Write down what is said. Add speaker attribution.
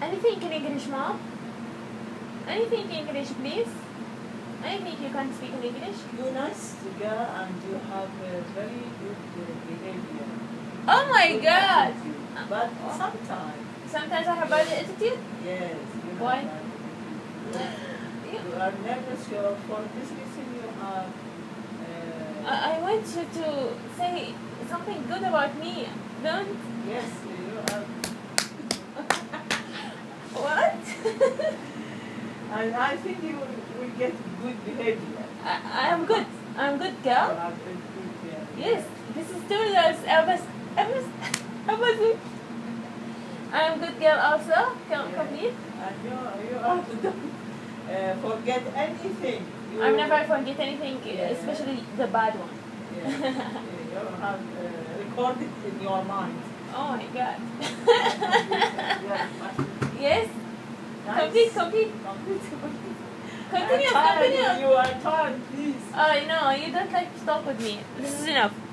Speaker 1: Anything in English, mom? Anything in English, please? Anything you can speak in English?
Speaker 2: You're nice girl and you have a very good uh, behavior.
Speaker 1: Oh my
Speaker 2: Good
Speaker 1: god!
Speaker 2: attitude. But sometimes,
Speaker 1: Sometimes I have bad attitude.
Speaker 2: yes. You
Speaker 1: Why?
Speaker 2: Have bad
Speaker 1: Yeah.
Speaker 2: attitude. you are nervous. You are for this reason you have. Uh,
Speaker 1: I, I want you to say something good about me. Don't.
Speaker 2: yes, you are.
Speaker 1: What?
Speaker 2: And I think you will- will get good behavior.
Speaker 1: I, I'm good. I'm good
Speaker 2: You
Speaker 1: girl.
Speaker 2: have a good behavior.
Speaker 1: Yes, this is two years. I was, I was, I was. I'm good girl also. Come,
Speaker 2: Yeah.
Speaker 1: come here.
Speaker 2: And you, you are don't uh, forget anything. You,
Speaker 1: I'm never forget anything,
Speaker 2: Yeah.
Speaker 1: especially the bad one.
Speaker 2: Yeah. you have uh, recorded in your mind.
Speaker 1: Oh my god.
Speaker 2: Yeah, but
Speaker 1: yes.
Speaker 2: nice.
Speaker 1: Complete, complete.
Speaker 2: Complete, complete.
Speaker 1: Continue,
Speaker 2: I'm tired.
Speaker 1: continue. Uh,
Speaker 2: You are tired, please.
Speaker 1: Oh no, you don't like to talk with me. This is enough.